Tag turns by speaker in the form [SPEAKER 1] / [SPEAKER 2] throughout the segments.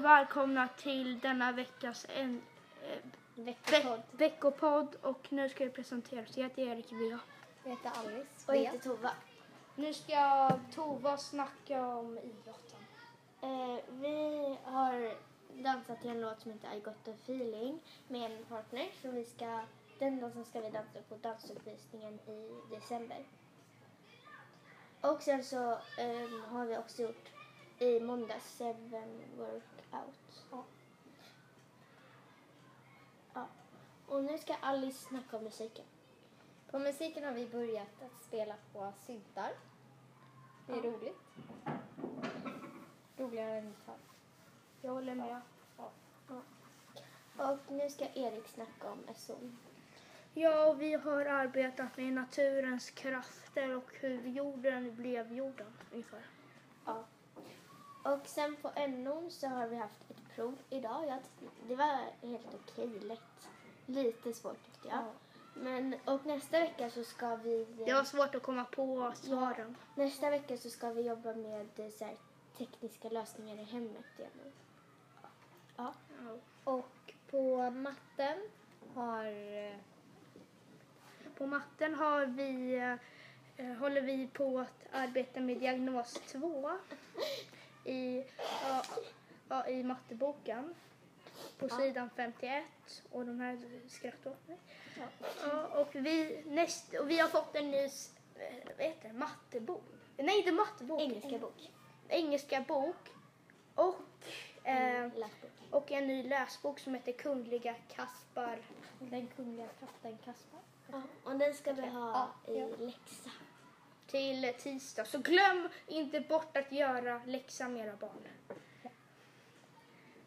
[SPEAKER 1] välkomna till denna veckas en, eh, ve-
[SPEAKER 2] Veckopodd.
[SPEAKER 1] veckopodd och nu ska jag presentera oss. Jag heter Erik Vea.
[SPEAKER 2] Jag heter Alice.
[SPEAKER 3] Och inte Tova.
[SPEAKER 1] Nu ska Tova snacka om idrotten.
[SPEAKER 3] Eh, vi har dansat till en låt som heter I got a feeling med en partner. Så vi ska, den dansen ska vi dansa på dansuppvisningen i december. Och sen så ehm, har vi också gjort i måndags Seven Workout. Ja. ja. Och nu ska Alice snacka om musiken.
[SPEAKER 2] På musiken har vi börjat att spela på syntar. Det är roligt. Roligare än gitarr.
[SPEAKER 1] Jag håller med.
[SPEAKER 3] Och nu ska Erik snacka om SO.
[SPEAKER 1] Ja, och vi har arbetat med naturens krafter och hur jorden blev jorden ungefär.
[SPEAKER 3] Ja. Och sen på NO så har vi haft ett prov idag. Jag, tyckte- det var helt okej lätt. Lite svårt tyckte jag.
[SPEAKER 2] Ja.
[SPEAKER 3] Men, och nästa vecka så ska vi... eh,
[SPEAKER 1] Det var svårt att komma på svaren.
[SPEAKER 3] Nästa vecka så ska vi jobba med eh, så här, tekniska lösningar i hemmet igen. Ja.
[SPEAKER 1] Ja.
[SPEAKER 2] Och på matten har... eh,
[SPEAKER 1] På matten har vi, eh, håller vi på att arbeta med diagnos 2 i, ja, ja, i matteboken på sidan 51. Och de här skrattar åt mig. Ja, och, vi, näst, och vi har fått en ny s- eh, vad heter det, mattebok. Nej, inte mattebok.
[SPEAKER 3] Engelska bok.
[SPEAKER 1] Engelska bok. Och, eh,
[SPEAKER 3] Läsbok.
[SPEAKER 1] och en ny läsbok som heter Kungliga Kaspar.
[SPEAKER 2] Den kungliga katten Kaspar.
[SPEAKER 3] Ja. Och den ska vi
[SPEAKER 1] Okej.
[SPEAKER 3] ha
[SPEAKER 2] Ja,
[SPEAKER 3] i
[SPEAKER 2] ja.
[SPEAKER 3] läxa.
[SPEAKER 1] till tisdag. Så glöm inte bort att göra läxan med era barn.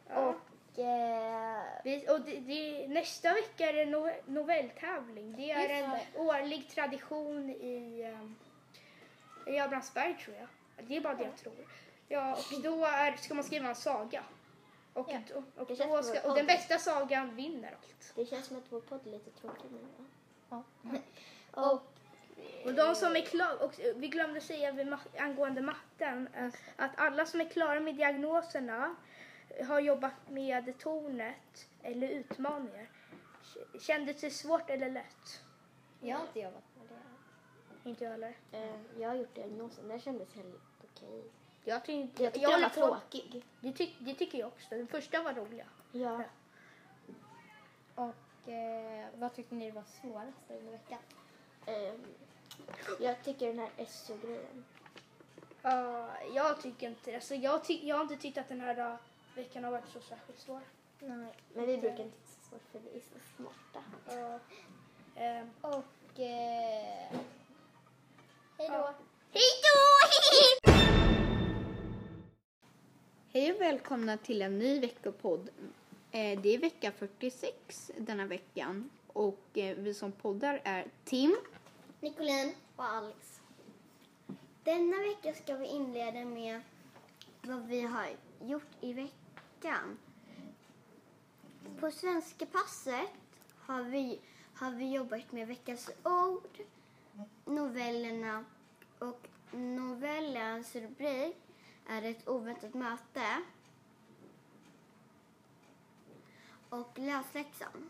[SPEAKER 1] Ja.
[SPEAKER 3] Och, eh,
[SPEAKER 1] Vi, och det, det, nästa vecka är det no, novelltävling. Det är
[SPEAKER 2] Just
[SPEAKER 1] en
[SPEAKER 2] det.
[SPEAKER 1] årlig tradition i, ehm, i Abrahamsberg tror jag. Det är bara det jag tror. Ja, och då är, ska man skriva en saga. Och,
[SPEAKER 2] Ja.
[SPEAKER 1] då, och,
[SPEAKER 3] Det känns
[SPEAKER 1] då ska, och den bästa sagan vinner allt.
[SPEAKER 3] det känns som att vår podd är lite tråkig nu. va?
[SPEAKER 2] Ja.
[SPEAKER 3] Och
[SPEAKER 1] Och de som är klara, och vi glömde säga vid ma- angående matten, eh, att alla som är klara med diagnoserna har jobbat med tornet eller utmaningar. K- Kändes det svårt eller lätt?
[SPEAKER 2] Jag har inte jobbat med det.
[SPEAKER 1] Inte jag heller.
[SPEAKER 3] eh, jag har gjort diagnosen. Den kändes helt okej.
[SPEAKER 1] Jag tyckte,
[SPEAKER 3] Jag tyckte den var
[SPEAKER 1] håller på-
[SPEAKER 3] tråkig.
[SPEAKER 1] det, tyck, det tycker jag också. Den första var roliga.
[SPEAKER 3] Ja.
[SPEAKER 2] Och eh, vad tyckte ni var svårast under veckan?
[SPEAKER 3] Ehm, jag tycker den här SO-grejen.
[SPEAKER 1] Ja, jag tycker inte alltså jag, tyck, jag har inte tyckt att den här eh, veckan har varit så särskilt svår.
[SPEAKER 2] Nej.
[SPEAKER 3] Men vi brukar inte tycka så svårt för vi är så smarta.
[SPEAKER 1] Ja. Ehm,
[SPEAKER 2] Och... Eh, hej då!
[SPEAKER 1] Ja.
[SPEAKER 4] Hej och välkomna till en ny veckopodd. Eh, Det är vecka 46 denna veckan och eh, vi som poddar är Tim.
[SPEAKER 5] Nicolin och Alex. Denna vecka ska vi inleda med vad vi har gjort i veckan. På svenska passet har vi, har vi jobbat med veckans ord, novellerna och novellens rubrik är ett oväntat möte och läsläxan.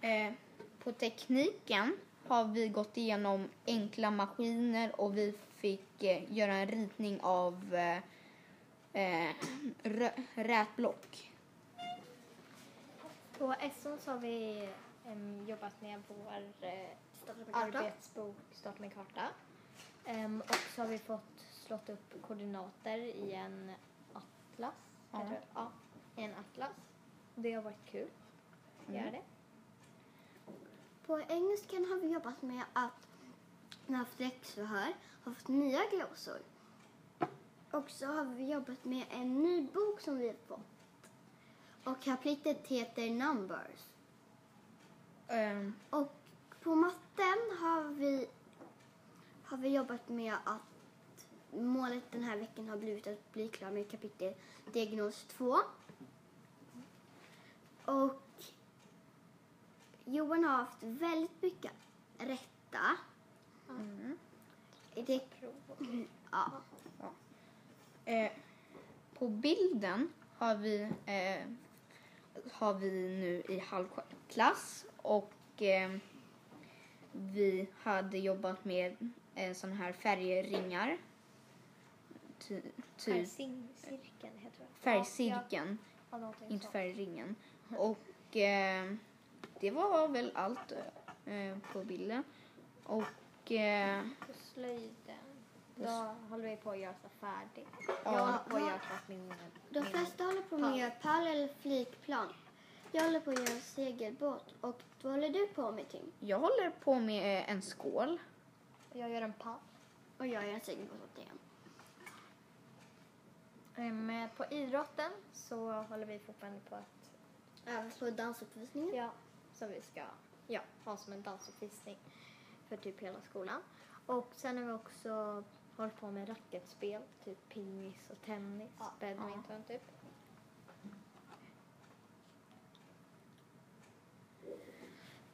[SPEAKER 4] Eh, På tekniken har vi gått igenom enkla maskiner och vi fick eh, göra en ritning av eh, eh, rö- rätblock.
[SPEAKER 2] På SO så har vi em, jobbat med vår eh, arbetsbok Starta med karta. Em, och så har vi fått slått upp koordinater i en atlas.
[SPEAKER 4] Ja.
[SPEAKER 2] Eller, ja, i en atlas. Det har varit kul att göra det.
[SPEAKER 5] På engelskan har vi jobbat med att vi har haft läxförhör har fått nya glosor. Och så har vi jobbat med en ny bok som vi har fått. Och kapitlet heter Numbers.
[SPEAKER 4] Eh,
[SPEAKER 5] Och på matten har vi, har vi jobbat med att målet den här veckan har blivit att bli klar med kapitel diagnos 2. Och Johan har haft väldigt mycket rätta. Det, ja.
[SPEAKER 4] Eh, på bilden har vi, eh, har vi nu i halvklass och eh, vi hade jobbat med eh, sådana här färgringar. Ty, typ
[SPEAKER 2] Färgcirkeln heter det.
[SPEAKER 4] färgcirkeln,
[SPEAKER 2] Ja, någonting
[SPEAKER 4] inte
[SPEAKER 2] sånt.
[SPEAKER 4] färgringen. Och eh, det var väl allt eh, på bilden. Och eh,
[SPEAKER 2] På slöjden. Då
[SPEAKER 4] Då
[SPEAKER 2] håller vi på att göra så färdigt. Jag
[SPEAKER 4] Ja.
[SPEAKER 2] håller på att göra klart min...
[SPEAKER 5] De
[SPEAKER 2] min-
[SPEAKER 5] flesta håller på med att göra pall eller flygplan. Jag håller på att göra segelbåt och vad håller du på med Tim?
[SPEAKER 4] jag håller på med en skål.
[SPEAKER 2] Jag gör en pall.
[SPEAKER 5] Och jag gör en segelbåt åt igen.
[SPEAKER 2] Ehm, på idrotten så håller vi fortfarande på att...
[SPEAKER 5] Även på dansuppvisningen.
[SPEAKER 2] Ja. Som vi ska ja, ha som en dansuppvisning för typ hela skolan. Och sen har vi också hållit på med racketspel. Typ pingis och tennis, badminton typ.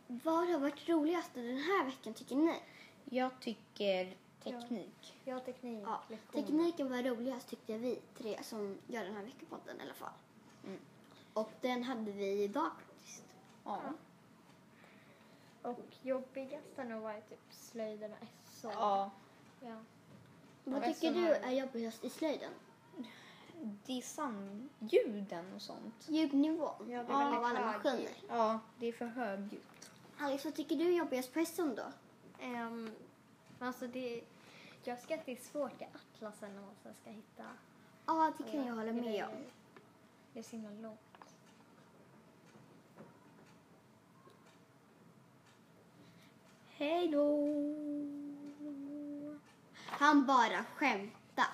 [SPEAKER 5] Vad har varit roligast den här veckan tycker ni?
[SPEAKER 4] Jag tycker teknik.
[SPEAKER 2] Jag har teknik,
[SPEAKER 5] Ja,
[SPEAKER 2] lektioner.
[SPEAKER 5] tekniken var roligast tyckte vi tre som gör den här veckopodden i alla fall.
[SPEAKER 4] Mm.
[SPEAKER 5] Och den hade vi idag faktiskt.
[SPEAKER 4] Ja.
[SPEAKER 2] Och jobbigast har nog varit typ slöjden och SO.
[SPEAKER 4] ja.
[SPEAKER 2] Ja.
[SPEAKER 5] Vad
[SPEAKER 4] det är
[SPEAKER 5] tycker
[SPEAKER 4] så
[SPEAKER 5] du
[SPEAKER 4] här-
[SPEAKER 5] är jobbigast i slöjden?
[SPEAKER 4] Dissan, ljuden och sånt.
[SPEAKER 5] Ljudnivån
[SPEAKER 2] Ja, det är
[SPEAKER 5] av
[SPEAKER 2] väldigt
[SPEAKER 5] alla
[SPEAKER 2] hög.
[SPEAKER 5] maskiner.
[SPEAKER 4] Ja, det är för högljutt.
[SPEAKER 5] Alex, vad tycker du är jobbigast på hästen då?
[SPEAKER 2] Um, alltså det, jag ska att det är svårt i atlasen när man sen ska hitta
[SPEAKER 5] Ja, det kan jag hålla med
[SPEAKER 2] grejer.
[SPEAKER 5] om.
[SPEAKER 2] Det är så himla långt.
[SPEAKER 5] Hej då! Han bara skämta.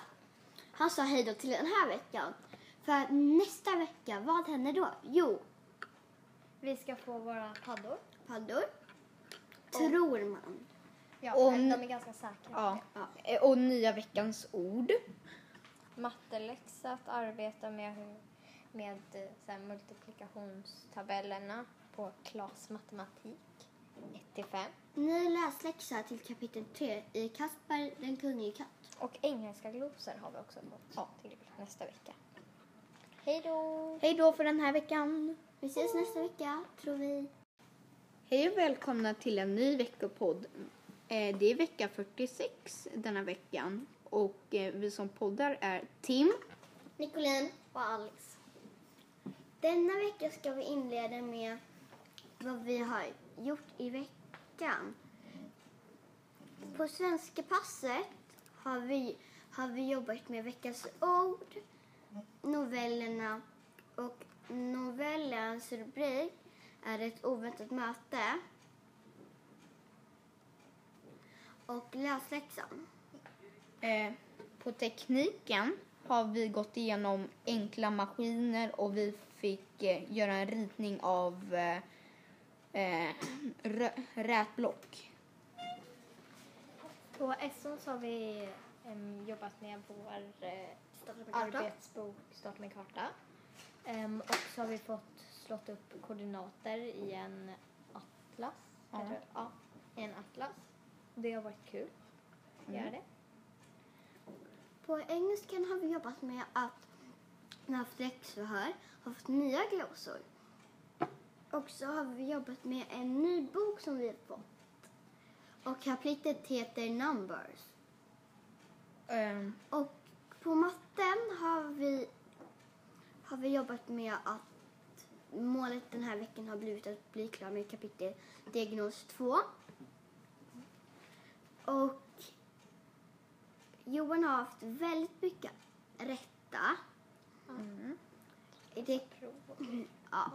[SPEAKER 5] Han sa hej då till den här veckan. För att nästa vecka, vad händer då? Jo,
[SPEAKER 2] Vi ska få våra paddor.
[SPEAKER 5] paddor. Tror man.
[SPEAKER 2] Ja,
[SPEAKER 4] Och
[SPEAKER 2] men
[SPEAKER 4] ni-
[SPEAKER 2] de är ganska säkra.
[SPEAKER 4] Ja. Eh, Och nya veckans ord.
[SPEAKER 2] Matteläxa, att arbeta med, hur- med eh, så här, multiplikationstabellerna på Klas matematik 1 till 5.
[SPEAKER 5] Ny läsläxa till kapitel 3 i Kasper den kunnige katt.
[SPEAKER 2] Och engelska glosor har vi också fått till nästa vecka. Hej då!
[SPEAKER 4] Hej då för den här veckan.
[SPEAKER 5] Vi ses nästa vecka, tror vi.
[SPEAKER 4] Hej och välkomna till en ny veckopodd. Eh, Det är vecka 46 denna veckan. Och eh, vi som poddar är Tim.
[SPEAKER 5] Nicolin och Alex. Denna vecka ska vi inleda med vad vi har gjort i veckan. På svenska passet har vi, har vi jobbat med veckans ord, novellerna och novellens rubrik är ett oväntat möte och läsläxan.
[SPEAKER 4] Eh, På tekniken har vi gått igenom enkla maskiner och vi fick eh, göra en ritning av eh, eh, rö- rätblock.
[SPEAKER 2] På SO så har vi em, jobbat med vår eh, arbetsbok Starta med karta. Em, och så har vi fått slått upp koordinater i en atlas.
[SPEAKER 4] Ja.
[SPEAKER 2] heter det? ja i en atlas. Det har varit kul att
[SPEAKER 4] Mm.
[SPEAKER 2] göra det.
[SPEAKER 5] På engelskan har vi jobbat med att när vi har haft läxförhör har fått nya glosor. Och så har vi jobbat med en ny bok som vi har fått. Och kapitlet heter Numbers.
[SPEAKER 4] Eh,
[SPEAKER 5] Och på matten har vi, har vi jobbat med att målet den här veckan har blivit att bli klar med kapitel diagnos 2. Och Johan har haft väldigt mycket rätta.
[SPEAKER 4] Mm.
[SPEAKER 5] Det, ja.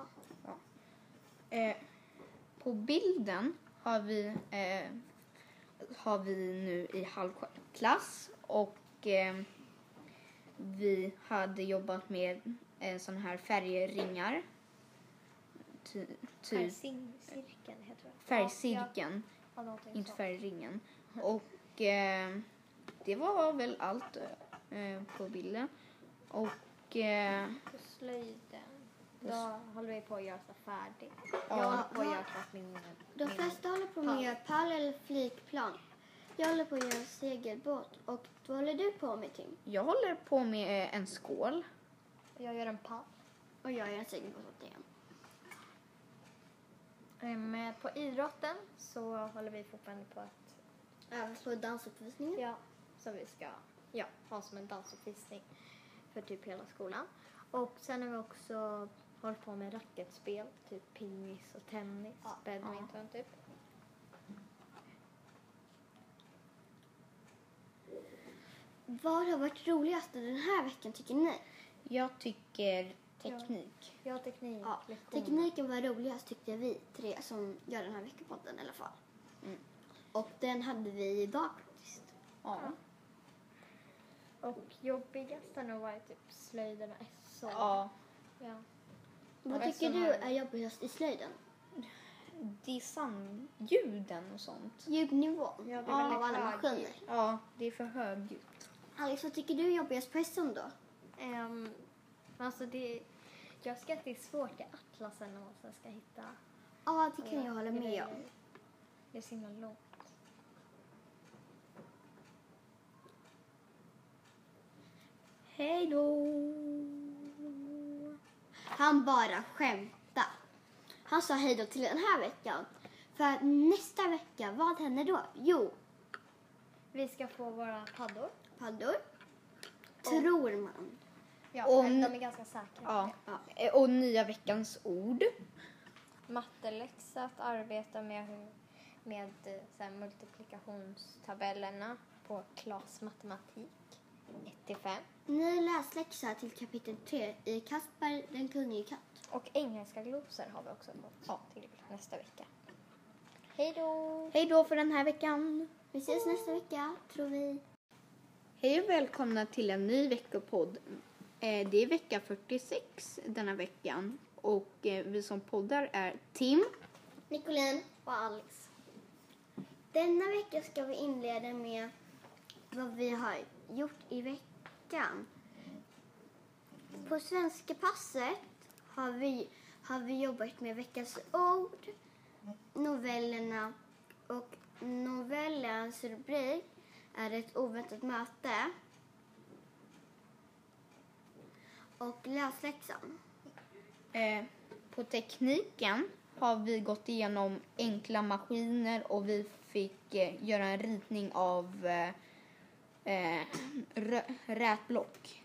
[SPEAKER 4] Eh, på bilden har vi, eh, har vi nu i halvklass och eh, vi hade jobbat med eh, sådana här färgringar. Ty, typ
[SPEAKER 2] Färgcirkeln heter det.
[SPEAKER 4] färgcirkeln,
[SPEAKER 2] Ja, ja, någonting
[SPEAKER 4] inte
[SPEAKER 2] sånt.
[SPEAKER 4] färgringen. Och eh, det var väl allt eh, på bilden. Och eh,
[SPEAKER 2] På slöjden.
[SPEAKER 4] På
[SPEAKER 2] Då håller vi på att göra så färdigt. Jag håller
[SPEAKER 4] ja,
[SPEAKER 2] på att göra klart min...
[SPEAKER 5] De
[SPEAKER 2] min-
[SPEAKER 5] flesta håller på med att göra pall eller flygplan. Jag håller på att göra segelbåt. Och vad håller du på med Tim?
[SPEAKER 4] jag håller på med en eh, skål.
[SPEAKER 2] Och jag gör en pall.
[SPEAKER 5] Och jag är sugen på sånt igen.
[SPEAKER 2] Ehm, på idrotten så håller vi fortfarande på att,
[SPEAKER 5] Även på dansuppvisningen.
[SPEAKER 2] ja, som vi ska ja, ha som en dansuppvisning för typ hela skolan. Och sen har vi också hållit på med racketspel, typ pingis och tennis, badminton typ.
[SPEAKER 5] Vad har varit roligast den här veckan tycker ni?
[SPEAKER 4] Jag tycker teknik.
[SPEAKER 2] Ja, teknik.
[SPEAKER 5] Ja, tekniken var roligast tyckte vi tre som gör den här veckopodden i alla fall.
[SPEAKER 4] Mm.
[SPEAKER 5] Och den hade vi idag faktiskt.
[SPEAKER 4] Ja.
[SPEAKER 2] Och jobbigast har nog varit typ slöjden och SO.
[SPEAKER 4] ja.
[SPEAKER 2] Ja.
[SPEAKER 5] Vad
[SPEAKER 4] det
[SPEAKER 5] tycker
[SPEAKER 4] som
[SPEAKER 5] du
[SPEAKER 4] är-
[SPEAKER 5] är jobbigast i slöjden?
[SPEAKER 4] Dissan, ljuden och sånt.
[SPEAKER 5] Ljudnivån
[SPEAKER 2] Ja, det är
[SPEAKER 5] av
[SPEAKER 2] väldigt
[SPEAKER 5] alla
[SPEAKER 2] hög.
[SPEAKER 5] maskiner.
[SPEAKER 4] Ja, det är för högljutt.
[SPEAKER 5] Alex, vad tycker du är jobbigast på hästen då?
[SPEAKER 2] Ehm, alltså det, jag ska att det är svårt i atlasen när man sen ska hitta
[SPEAKER 5] Ja, det kan jag hålla med
[SPEAKER 2] grejer.
[SPEAKER 5] om.
[SPEAKER 2] Det är så himla långt.
[SPEAKER 5] Hej då! Han bara skämta. Han sa hej då till den här veckan. För nästa vecka, vad händer då? Jo,
[SPEAKER 2] Vi ska få våra paddor.
[SPEAKER 5] paddor. Tror man.
[SPEAKER 2] Ja,
[SPEAKER 4] Och
[SPEAKER 2] men
[SPEAKER 4] ni-
[SPEAKER 2] de är ganska säkra.
[SPEAKER 4] Ja. Eh, Och nya veckans ord.
[SPEAKER 2] Matteläxa, att arbeta med, hur, med eh, så här, multiplikationstabellerna på Klas matematik 1 till 5.
[SPEAKER 5] Ny läsläxa till kapitel 3 i Kasper den kunnige katt.
[SPEAKER 2] Och engelska glosor har vi också fått till nästa vecka. Hej då!
[SPEAKER 4] Hej då för den här veckan.
[SPEAKER 5] Vi ses nästa vecka, tror vi.
[SPEAKER 4] Hej och välkomna till en ny veckopodd. Eh, Det är vecka 46 denna veckan. Och eh, vi som poddar är Tim.
[SPEAKER 5] Nicolin och Alex. Denna vecka ska vi inleda med vad vi har gjort i veckan. På svenska passet har vi, har vi jobbat med veckans ord, novellerna och novellens rubrik är ett oväntat möte och läsläxan.
[SPEAKER 4] Eh, På tekniken har vi gått igenom enkla maskiner och vi fick eh, göra en ritning av eh, eh, rö- rätblock.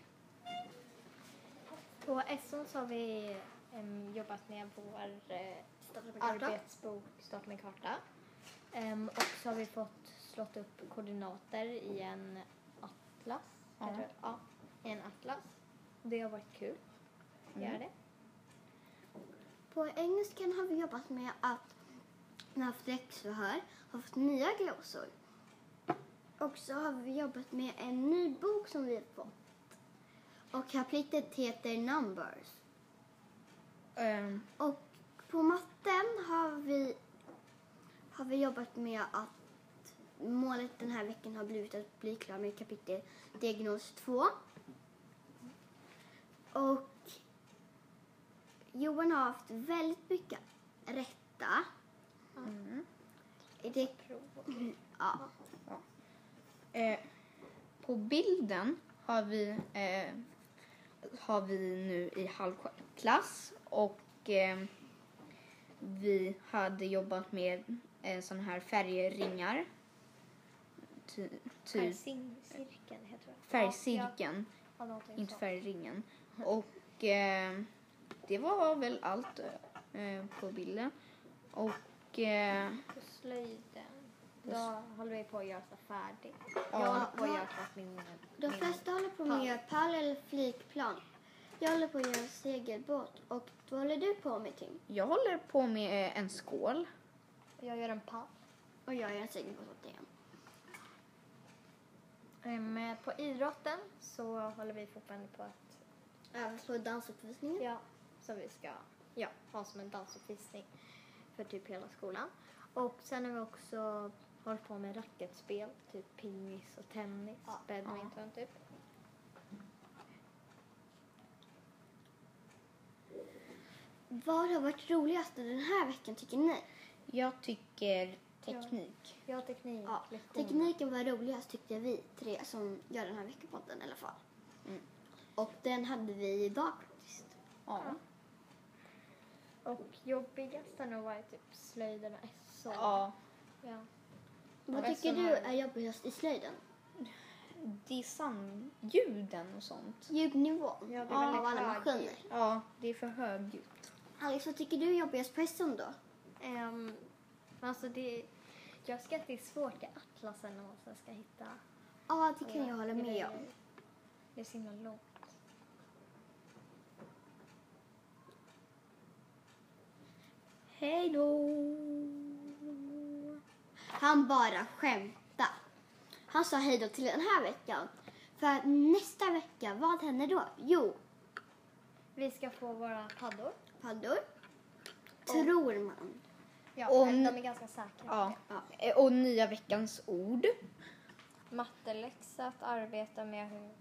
[SPEAKER 2] På SO så har vi em, jobbat med vår eh, arbetsbok Start med karta. Em, och så har vi fått slått upp koordinater i en atlas.
[SPEAKER 4] Ja.
[SPEAKER 2] Kanske, ja, i en atlas. Det har varit kul att
[SPEAKER 4] Mm.
[SPEAKER 2] göra det.
[SPEAKER 5] På engelskan har vi jobbat med att vi har haft läxförhör har fått nya glosor. Och så har vi jobbat med en ny bok som vi har fått. Och kapitlet heter Numbers.
[SPEAKER 4] Eh,
[SPEAKER 5] Och på matten har vi, har vi jobbat med att målet den här veckan har blivit att bli klar med kapitel diagnos 2. Och Johan har haft väldigt mycket rätta. Mm. Det, ja.
[SPEAKER 4] Eh, på bilden har vi, eh, har vi nu i halvklass och eh, vi hade jobbat med eh, sådana här färgringar. Ty, typ
[SPEAKER 2] Färgcirkeln heter det.
[SPEAKER 4] färgcirkeln,
[SPEAKER 2] Ja, ja, någonting
[SPEAKER 4] inte
[SPEAKER 2] sånt.
[SPEAKER 4] färgringen. Och eh, det var väl allt eh, på bilden. Och eh,
[SPEAKER 2] På slöjden. Då håller vi på att göra så färdigt.
[SPEAKER 4] Ja.
[SPEAKER 2] Jag håller på att göra klart min...
[SPEAKER 5] De
[SPEAKER 2] min-
[SPEAKER 5] flesta håller på med att göra pall eller flygplan. Jag håller på att göra segelbåt. Och vad håller du på med Tim?
[SPEAKER 4] jag håller på med eh, en skål.
[SPEAKER 2] Jag gör en pall.
[SPEAKER 5] Och jag gör en segelbåt åt dig.
[SPEAKER 2] Em, Ehm, På idrotten så håller vi fortfarande på att,
[SPEAKER 5] Även på dansuppvisningen.
[SPEAKER 2] ja, som vi ska ja, ha som en dansuppvisning för typ hela skolan. Och sen har vi också hållit på med racketspel, typ pingis och tennis, badminton typ.
[SPEAKER 5] Vad har varit roligast den här veckan tycker ni?
[SPEAKER 4] Jag tycker teknik.
[SPEAKER 2] Ja, teknik.
[SPEAKER 5] Ja,
[SPEAKER 2] lektion.
[SPEAKER 5] tekniken var roligast tyckte vi tre som gör den här veckopodden i alla fall. Och den hade vi idag faktiskt.
[SPEAKER 4] Ja.
[SPEAKER 2] Och jobbigast har nog varit typ slöjderna. Så.
[SPEAKER 4] ja.
[SPEAKER 2] Ja.
[SPEAKER 5] Vad
[SPEAKER 4] Resten
[SPEAKER 5] tycker du
[SPEAKER 4] har-
[SPEAKER 5] är jobbigast i slöjden?
[SPEAKER 4] Dissan, ljuden och sånt.
[SPEAKER 5] Ljudnivån
[SPEAKER 1] Ja, det är
[SPEAKER 5] av
[SPEAKER 1] väldigt
[SPEAKER 5] alla
[SPEAKER 1] hög.
[SPEAKER 5] maskiner.
[SPEAKER 4] Ja, det är för högljutt.
[SPEAKER 5] Alex, vad tycker du är jobbigast på hästen då?
[SPEAKER 2] Ehm, men alltså det, jag ska att det är svårt i atlasen när man sen ska hitta.
[SPEAKER 5] Ja, det kan jag hålla med
[SPEAKER 2] grejer.
[SPEAKER 5] om.
[SPEAKER 2] Det är så himla långt.
[SPEAKER 5] Hej då! Han bara skämta. Han sa hej då till den här veckan. För nästa vecka, vad händer då? Jo,
[SPEAKER 2] Vi ska få våra paddor.
[SPEAKER 5] paddor. Tror man.
[SPEAKER 2] Ja,
[SPEAKER 4] Och
[SPEAKER 2] men
[SPEAKER 4] n-
[SPEAKER 2] de är ganska säkra.
[SPEAKER 4] Ja. Eh, Och nya veckans ord.
[SPEAKER 2] matteläxa att arbeta med, hur-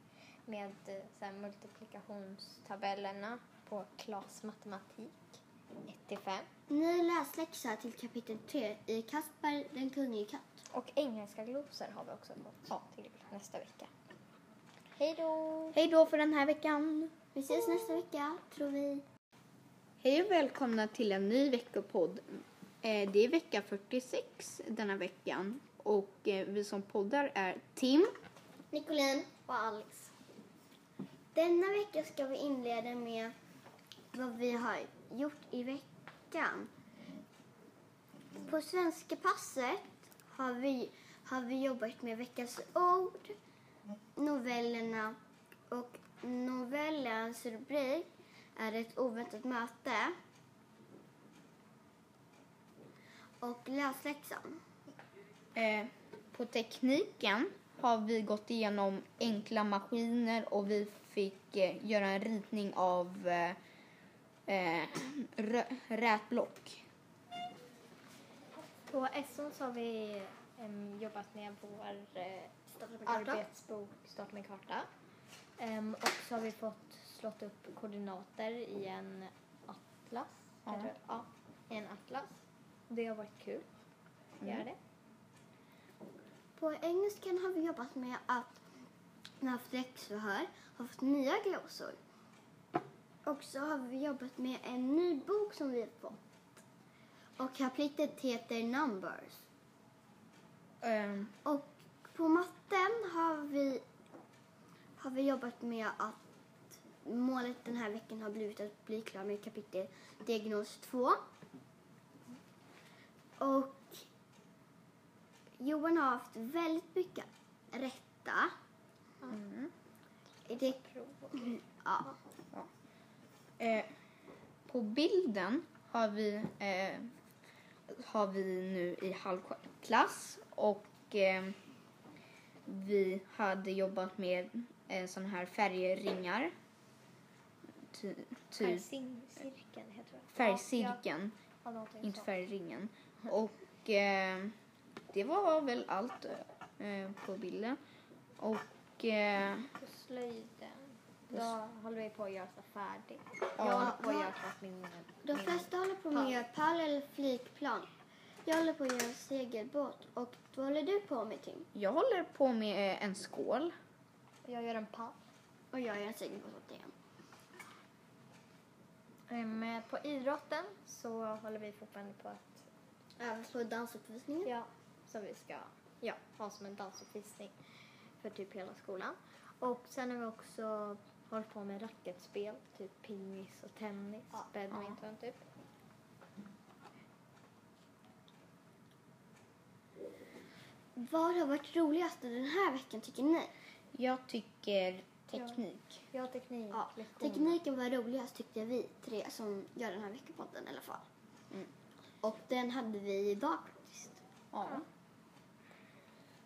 [SPEAKER 2] med eh, så här, multiplikationstabellerna på Klas matematik 1-5
[SPEAKER 5] Ny läsläxa till kapitel 3 i Kasper den kunnige katt.
[SPEAKER 2] och engelska glosor har vi också fått till nästa vecka. Hej då!
[SPEAKER 4] Hej då för den här veckan.
[SPEAKER 5] Vi ses nästa vecka, tror vi.
[SPEAKER 4] Hej och välkomna till en ny veckopodd. Eh, Det är vecka 46 denna veckan. Och eh, vi som poddar är Tim.
[SPEAKER 5] Nicolin och Alex. Denna vecka ska vi inleda med vad vi har gjort i veckan. På svenska passet har vi, har vi jobbat med veckans ord, novellerna och novellens rubrik är ett oväntat möte och läsläxan.
[SPEAKER 4] Eh, På tekniken har vi gått igenom enkla maskiner och vi fick eh, göra en ritning av eh, eh, rö- rätblock.
[SPEAKER 2] På SO så har vi em, jobbat med vår eh, arbetsbok Starta med karta. Em, och så har vi fått slått upp koordinater i en atlas.
[SPEAKER 4] Ja.
[SPEAKER 2] Heter det? ja, i en atlas. Det har varit kul att
[SPEAKER 4] Mm.
[SPEAKER 2] göra det.
[SPEAKER 5] På engelskan har vi jobbat med att vi har haft läxförhör har fått nya glosor. Och så har vi jobbat med en ny bok som vi har fått. Och kapitlet heter Numbers.
[SPEAKER 4] Eh,
[SPEAKER 5] Och på matten har vi, har vi jobbat med att målet den här veckan har blivit att bli klar med kapitel diagnos 2. Och Johan har haft väldigt mycket rätta. Mm. Det, ja.
[SPEAKER 4] Eh, på bilden har vi, eh, har vi nu i halvklass och eh, vi hade jobbat med eh, sådana här färgringar. Ty, typ
[SPEAKER 2] Färgcirkeln heter det.
[SPEAKER 4] färgcirkeln,
[SPEAKER 2] Ja, någonting
[SPEAKER 4] inte
[SPEAKER 2] sånt.
[SPEAKER 4] färgringen. Och eh, det var väl allt eh, på bilden. Och eh,
[SPEAKER 2] På slöjden. Då håller vi på att göra så färdigt. Jag
[SPEAKER 4] Ja.
[SPEAKER 2] håller på att göra klart min...
[SPEAKER 5] De
[SPEAKER 2] min-
[SPEAKER 5] flesta håller på med att göra pall eller flygplan. Jag håller på att göra segelbåt och vad håller du på med Tim?
[SPEAKER 4] jag håller på med en skål.
[SPEAKER 2] Jag gör en pall.
[SPEAKER 5] Och jag gör en segelbåt åt dig.
[SPEAKER 2] Ehm, på idrotten så håller vi fortfarande på att...
[SPEAKER 5] Även på dansuppvisningen.
[SPEAKER 2] Ja. Som vi ska ja, ha som en dansuppvisning för typ hela skolan. Och sen har vi också hållit på med racketspel, typ pingis och tennis, badminton typ.
[SPEAKER 5] Vad har varit roligast den här veckan tycker ni?
[SPEAKER 4] Jag tycker teknik.
[SPEAKER 2] Jag har teknik,
[SPEAKER 5] Ja,
[SPEAKER 2] lektioner.
[SPEAKER 5] tekniken var roligast tyckte vi tre som gör den här veckopodden i alla fall.
[SPEAKER 4] Mm.
[SPEAKER 5] Och den hade vi idag faktiskt.
[SPEAKER 4] Ja.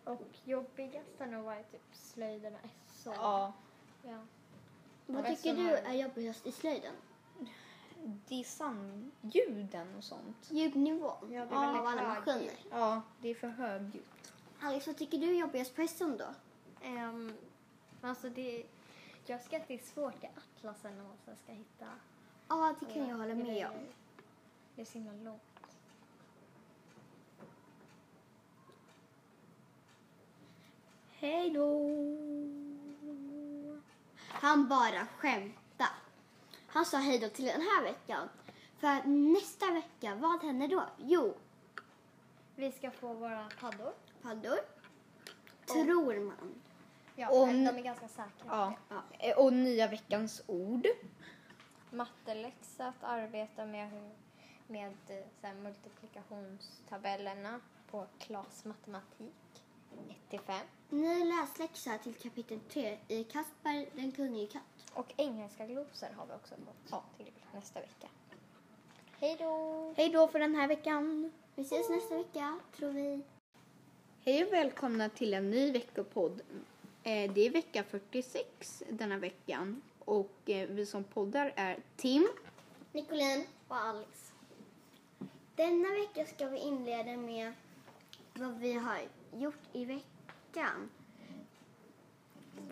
[SPEAKER 2] Och jobbigast har nog varit typ slöjderna. Så.
[SPEAKER 4] ja.
[SPEAKER 2] Ja.
[SPEAKER 5] Vad
[SPEAKER 4] resten
[SPEAKER 5] tycker du
[SPEAKER 4] har-
[SPEAKER 5] är jobbigast i slöjden?
[SPEAKER 4] Dissan, ljuden och sånt.
[SPEAKER 5] Ljudnivån
[SPEAKER 1] Ja, det är
[SPEAKER 5] av
[SPEAKER 1] väldigt
[SPEAKER 5] alla
[SPEAKER 1] hög.
[SPEAKER 5] maskiner.
[SPEAKER 4] Ja, det är för högljutt.
[SPEAKER 5] Alex, vad tycker du är jobbigast på hästen då?
[SPEAKER 2] Ehm, men alltså det, jag ska att det är svårt i atlasen när man sen ska hitta.
[SPEAKER 5] Ja, det kan jag
[SPEAKER 2] alla
[SPEAKER 5] hålla med
[SPEAKER 2] grejer.
[SPEAKER 5] om.
[SPEAKER 2] Det är så himla långt.
[SPEAKER 5] Han han bara skämta. Han sa hej då till den här veckan. För nästa vecka, vad händer då? Jo,
[SPEAKER 2] Vi ska få våra paddor.
[SPEAKER 5] paddor. Tror man.
[SPEAKER 2] Ja,
[SPEAKER 4] Och
[SPEAKER 2] men
[SPEAKER 4] ni-
[SPEAKER 2] de är ganska säkra.
[SPEAKER 4] Ja. Eh, Och nya veckans ord.
[SPEAKER 2] Matteläxa, att arbeta med, hur- med eh, så här, multiplikationstabellerna på Klas matematik 1 till 5.
[SPEAKER 5] Ny läsläxa till kapitel 3 i Kasper den kunnige katt.
[SPEAKER 2] Och engelska glosor har vi också fått till nästa vecka. Hej då!
[SPEAKER 4] Hej då för den här veckan.
[SPEAKER 5] Vi ses nästa vecka, tror vi.
[SPEAKER 4] Hej och välkomna till en ny veckopodd. Eh, Det är vecka 46 denna veckan. Och eh, vi som poddar är Tim.
[SPEAKER 5] Nicolin och Alex. Denna vecka ska vi inleda med vad vi har gjort i veckan.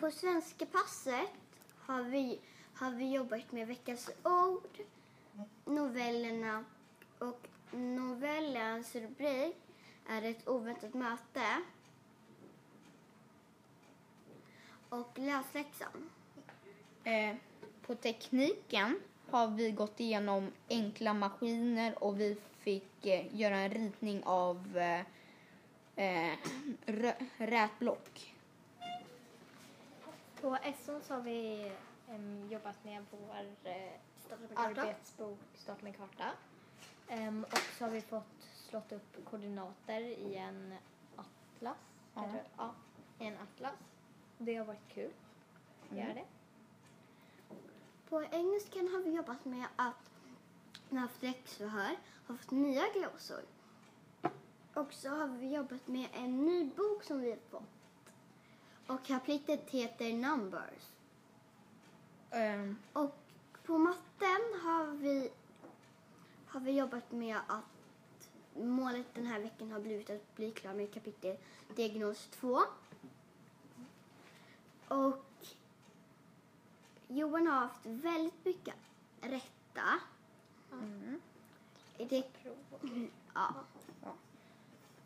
[SPEAKER 5] På svenska passet har vi, har vi jobbat med veckans ord, novellerna och novellens rubrik är ett oväntat möte och läsläxan.
[SPEAKER 4] Eh, På tekniken har vi gått igenom enkla maskiner och vi fick eh, göra en ritning av eh, eh, rö- rätblock.
[SPEAKER 2] På SO så har vi em, jobbat med vår eh, arbetsbok Start med karta. Em, och så har vi fått slått upp koordinater i en atlas.
[SPEAKER 4] Ja.
[SPEAKER 2] heter det? ja i en atlas. Det har varit kul att göra det.
[SPEAKER 5] På engelskan har vi jobbat med att vi har haft läxförhör har fått nya glosor. Och så har vi jobbat med en ny bok som vi har fått. Och kapitlet heter Numbers.
[SPEAKER 4] Eh,
[SPEAKER 5] Och på matten har vi, har vi jobbat med att målet den här veckan har blivit att bli klar med kapitel diagnos 2. Och Johan har haft väldigt mycket rätta. Mm. Det, ja.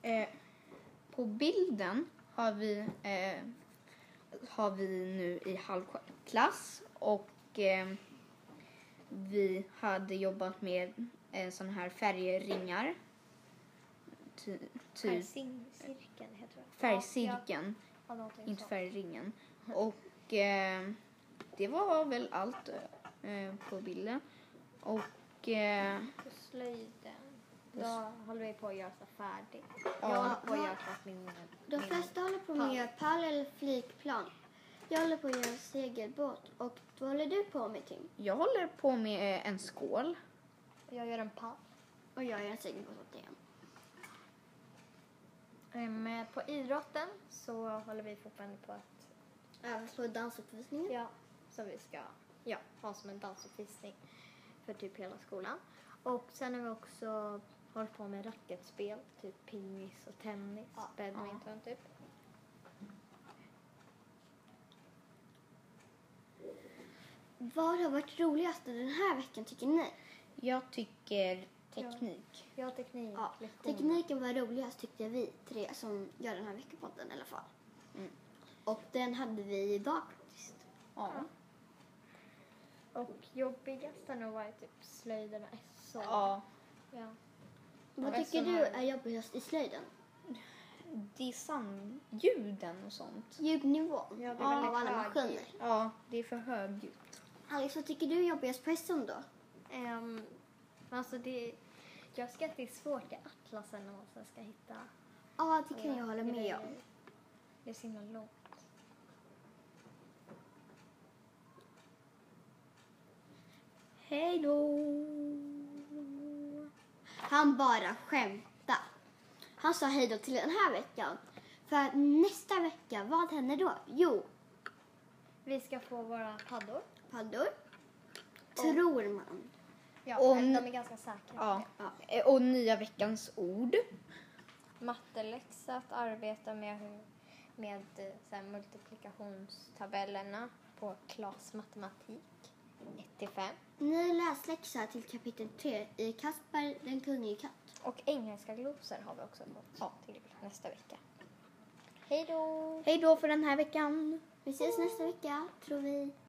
[SPEAKER 4] Eh, på bilden har vi, eh, har vi nu i halvklass och eh, vi hade jobbat med eh, sådana här färgringar. Ty,
[SPEAKER 2] Här
[SPEAKER 4] typ
[SPEAKER 2] cirkeln heter det.
[SPEAKER 4] färgcirkeln,
[SPEAKER 2] Ja, ja, någonting
[SPEAKER 4] inte
[SPEAKER 2] sånt.
[SPEAKER 4] färgringen. Och eh, det var väl allt eh, på bilden. Och eh,
[SPEAKER 2] På slöjden. Då håller vi på att göra så färdigt.
[SPEAKER 4] Ja.
[SPEAKER 2] Jag håller på att göra klart min...
[SPEAKER 5] De
[SPEAKER 2] min-
[SPEAKER 5] flesta håller på med att göra pall eller flygplan. Jag håller på att göra en segelbåt och vad håller du på med Tim?
[SPEAKER 4] jag håller på med eh, en skål.
[SPEAKER 2] Jag gör en pall.
[SPEAKER 5] Och jag gör en segelbåt åt igen.
[SPEAKER 2] Ehm, på idrotten så håller vi fortfarande på att,
[SPEAKER 5] Även på dansuppvisningen.
[SPEAKER 2] ja, som vi ska ja, ha som en dansuppvisning för typ hela skolan. Och sen har vi också hållit på med racketspel, typ pingis och tennis, badminton typ.
[SPEAKER 5] Vad har varit roligast den här veckan tycker ni?
[SPEAKER 4] Jag tycker teknik.
[SPEAKER 2] Ja, teknik.
[SPEAKER 5] Ja,
[SPEAKER 2] lektion.
[SPEAKER 5] tekniken var roligast tyckte vi tre som gör den här veckopodden i alla fall.
[SPEAKER 4] Mm.
[SPEAKER 5] Och den hade vi idag faktiskt.
[SPEAKER 4] Ja.
[SPEAKER 2] Och jobbigast har nog varit typ slöjden och SO.
[SPEAKER 4] ja.
[SPEAKER 2] Ja.
[SPEAKER 5] Vad
[SPEAKER 4] det
[SPEAKER 5] tycker
[SPEAKER 4] som
[SPEAKER 5] du
[SPEAKER 4] är-
[SPEAKER 5] är jobbigast i slöjden?
[SPEAKER 4] Dissan, ljuden och sånt.
[SPEAKER 5] Ljudnivån
[SPEAKER 2] Ja, det är
[SPEAKER 5] av
[SPEAKER 2] väldigt
[SPEAKER 5] alla
[SPEAKER 2] hög.
[SPEAKER 5] maskiner.
[SPEAKER 4] Ja, det är för högljutt.
[SPEAKER 5] Alex, vad tycker du är jobbigast på hästen då?
[SPEAKER 2] Ehm, alltså det, jag ska att det är svårt i atlasen när man sen ska hitta
[SPEAKER 5] Ja, det kan jag hålla med
[SPEAKER 2] grejer.
[SPEAKER 5] om.
[SPEAKER 2] Det är så himla långt.
[SPEAKER 5] Hej då! Han bara skämta. Han sa hej då till den här veckan. För nästa vecka, vad händer då? Jo,
[SPEAKER 2] Vi ska få våra paddor.
[SPEAKER 5] paddor. Tror man.
[SPEAKER 2] Ja,
[SPEAKER 4] Och
[SPEAKER 2] men
[SPEAKER 4] ni-
[SPEAKER 2] de är ganska säkra.
[SPEAKER 4] Ja. Eh, Och nya veckans ord.
[SPEAKER 2] Matteläxa, att arbeta med, hur, med eh, så här, multiplikationstabellerna på Klas matematik 1 till 5.
[SPEAKER 5] Ny läsläxa till kapitel 3 i Kasper den kunnige katt.
[SPEAKER 2] Och engelska glosor har vi också fått till nästa vecka. Hej då!
[SPEAKER 4] Hej då för den här veckan.
[SPEAKER 5] Vi ses nästa vecka, tror vi.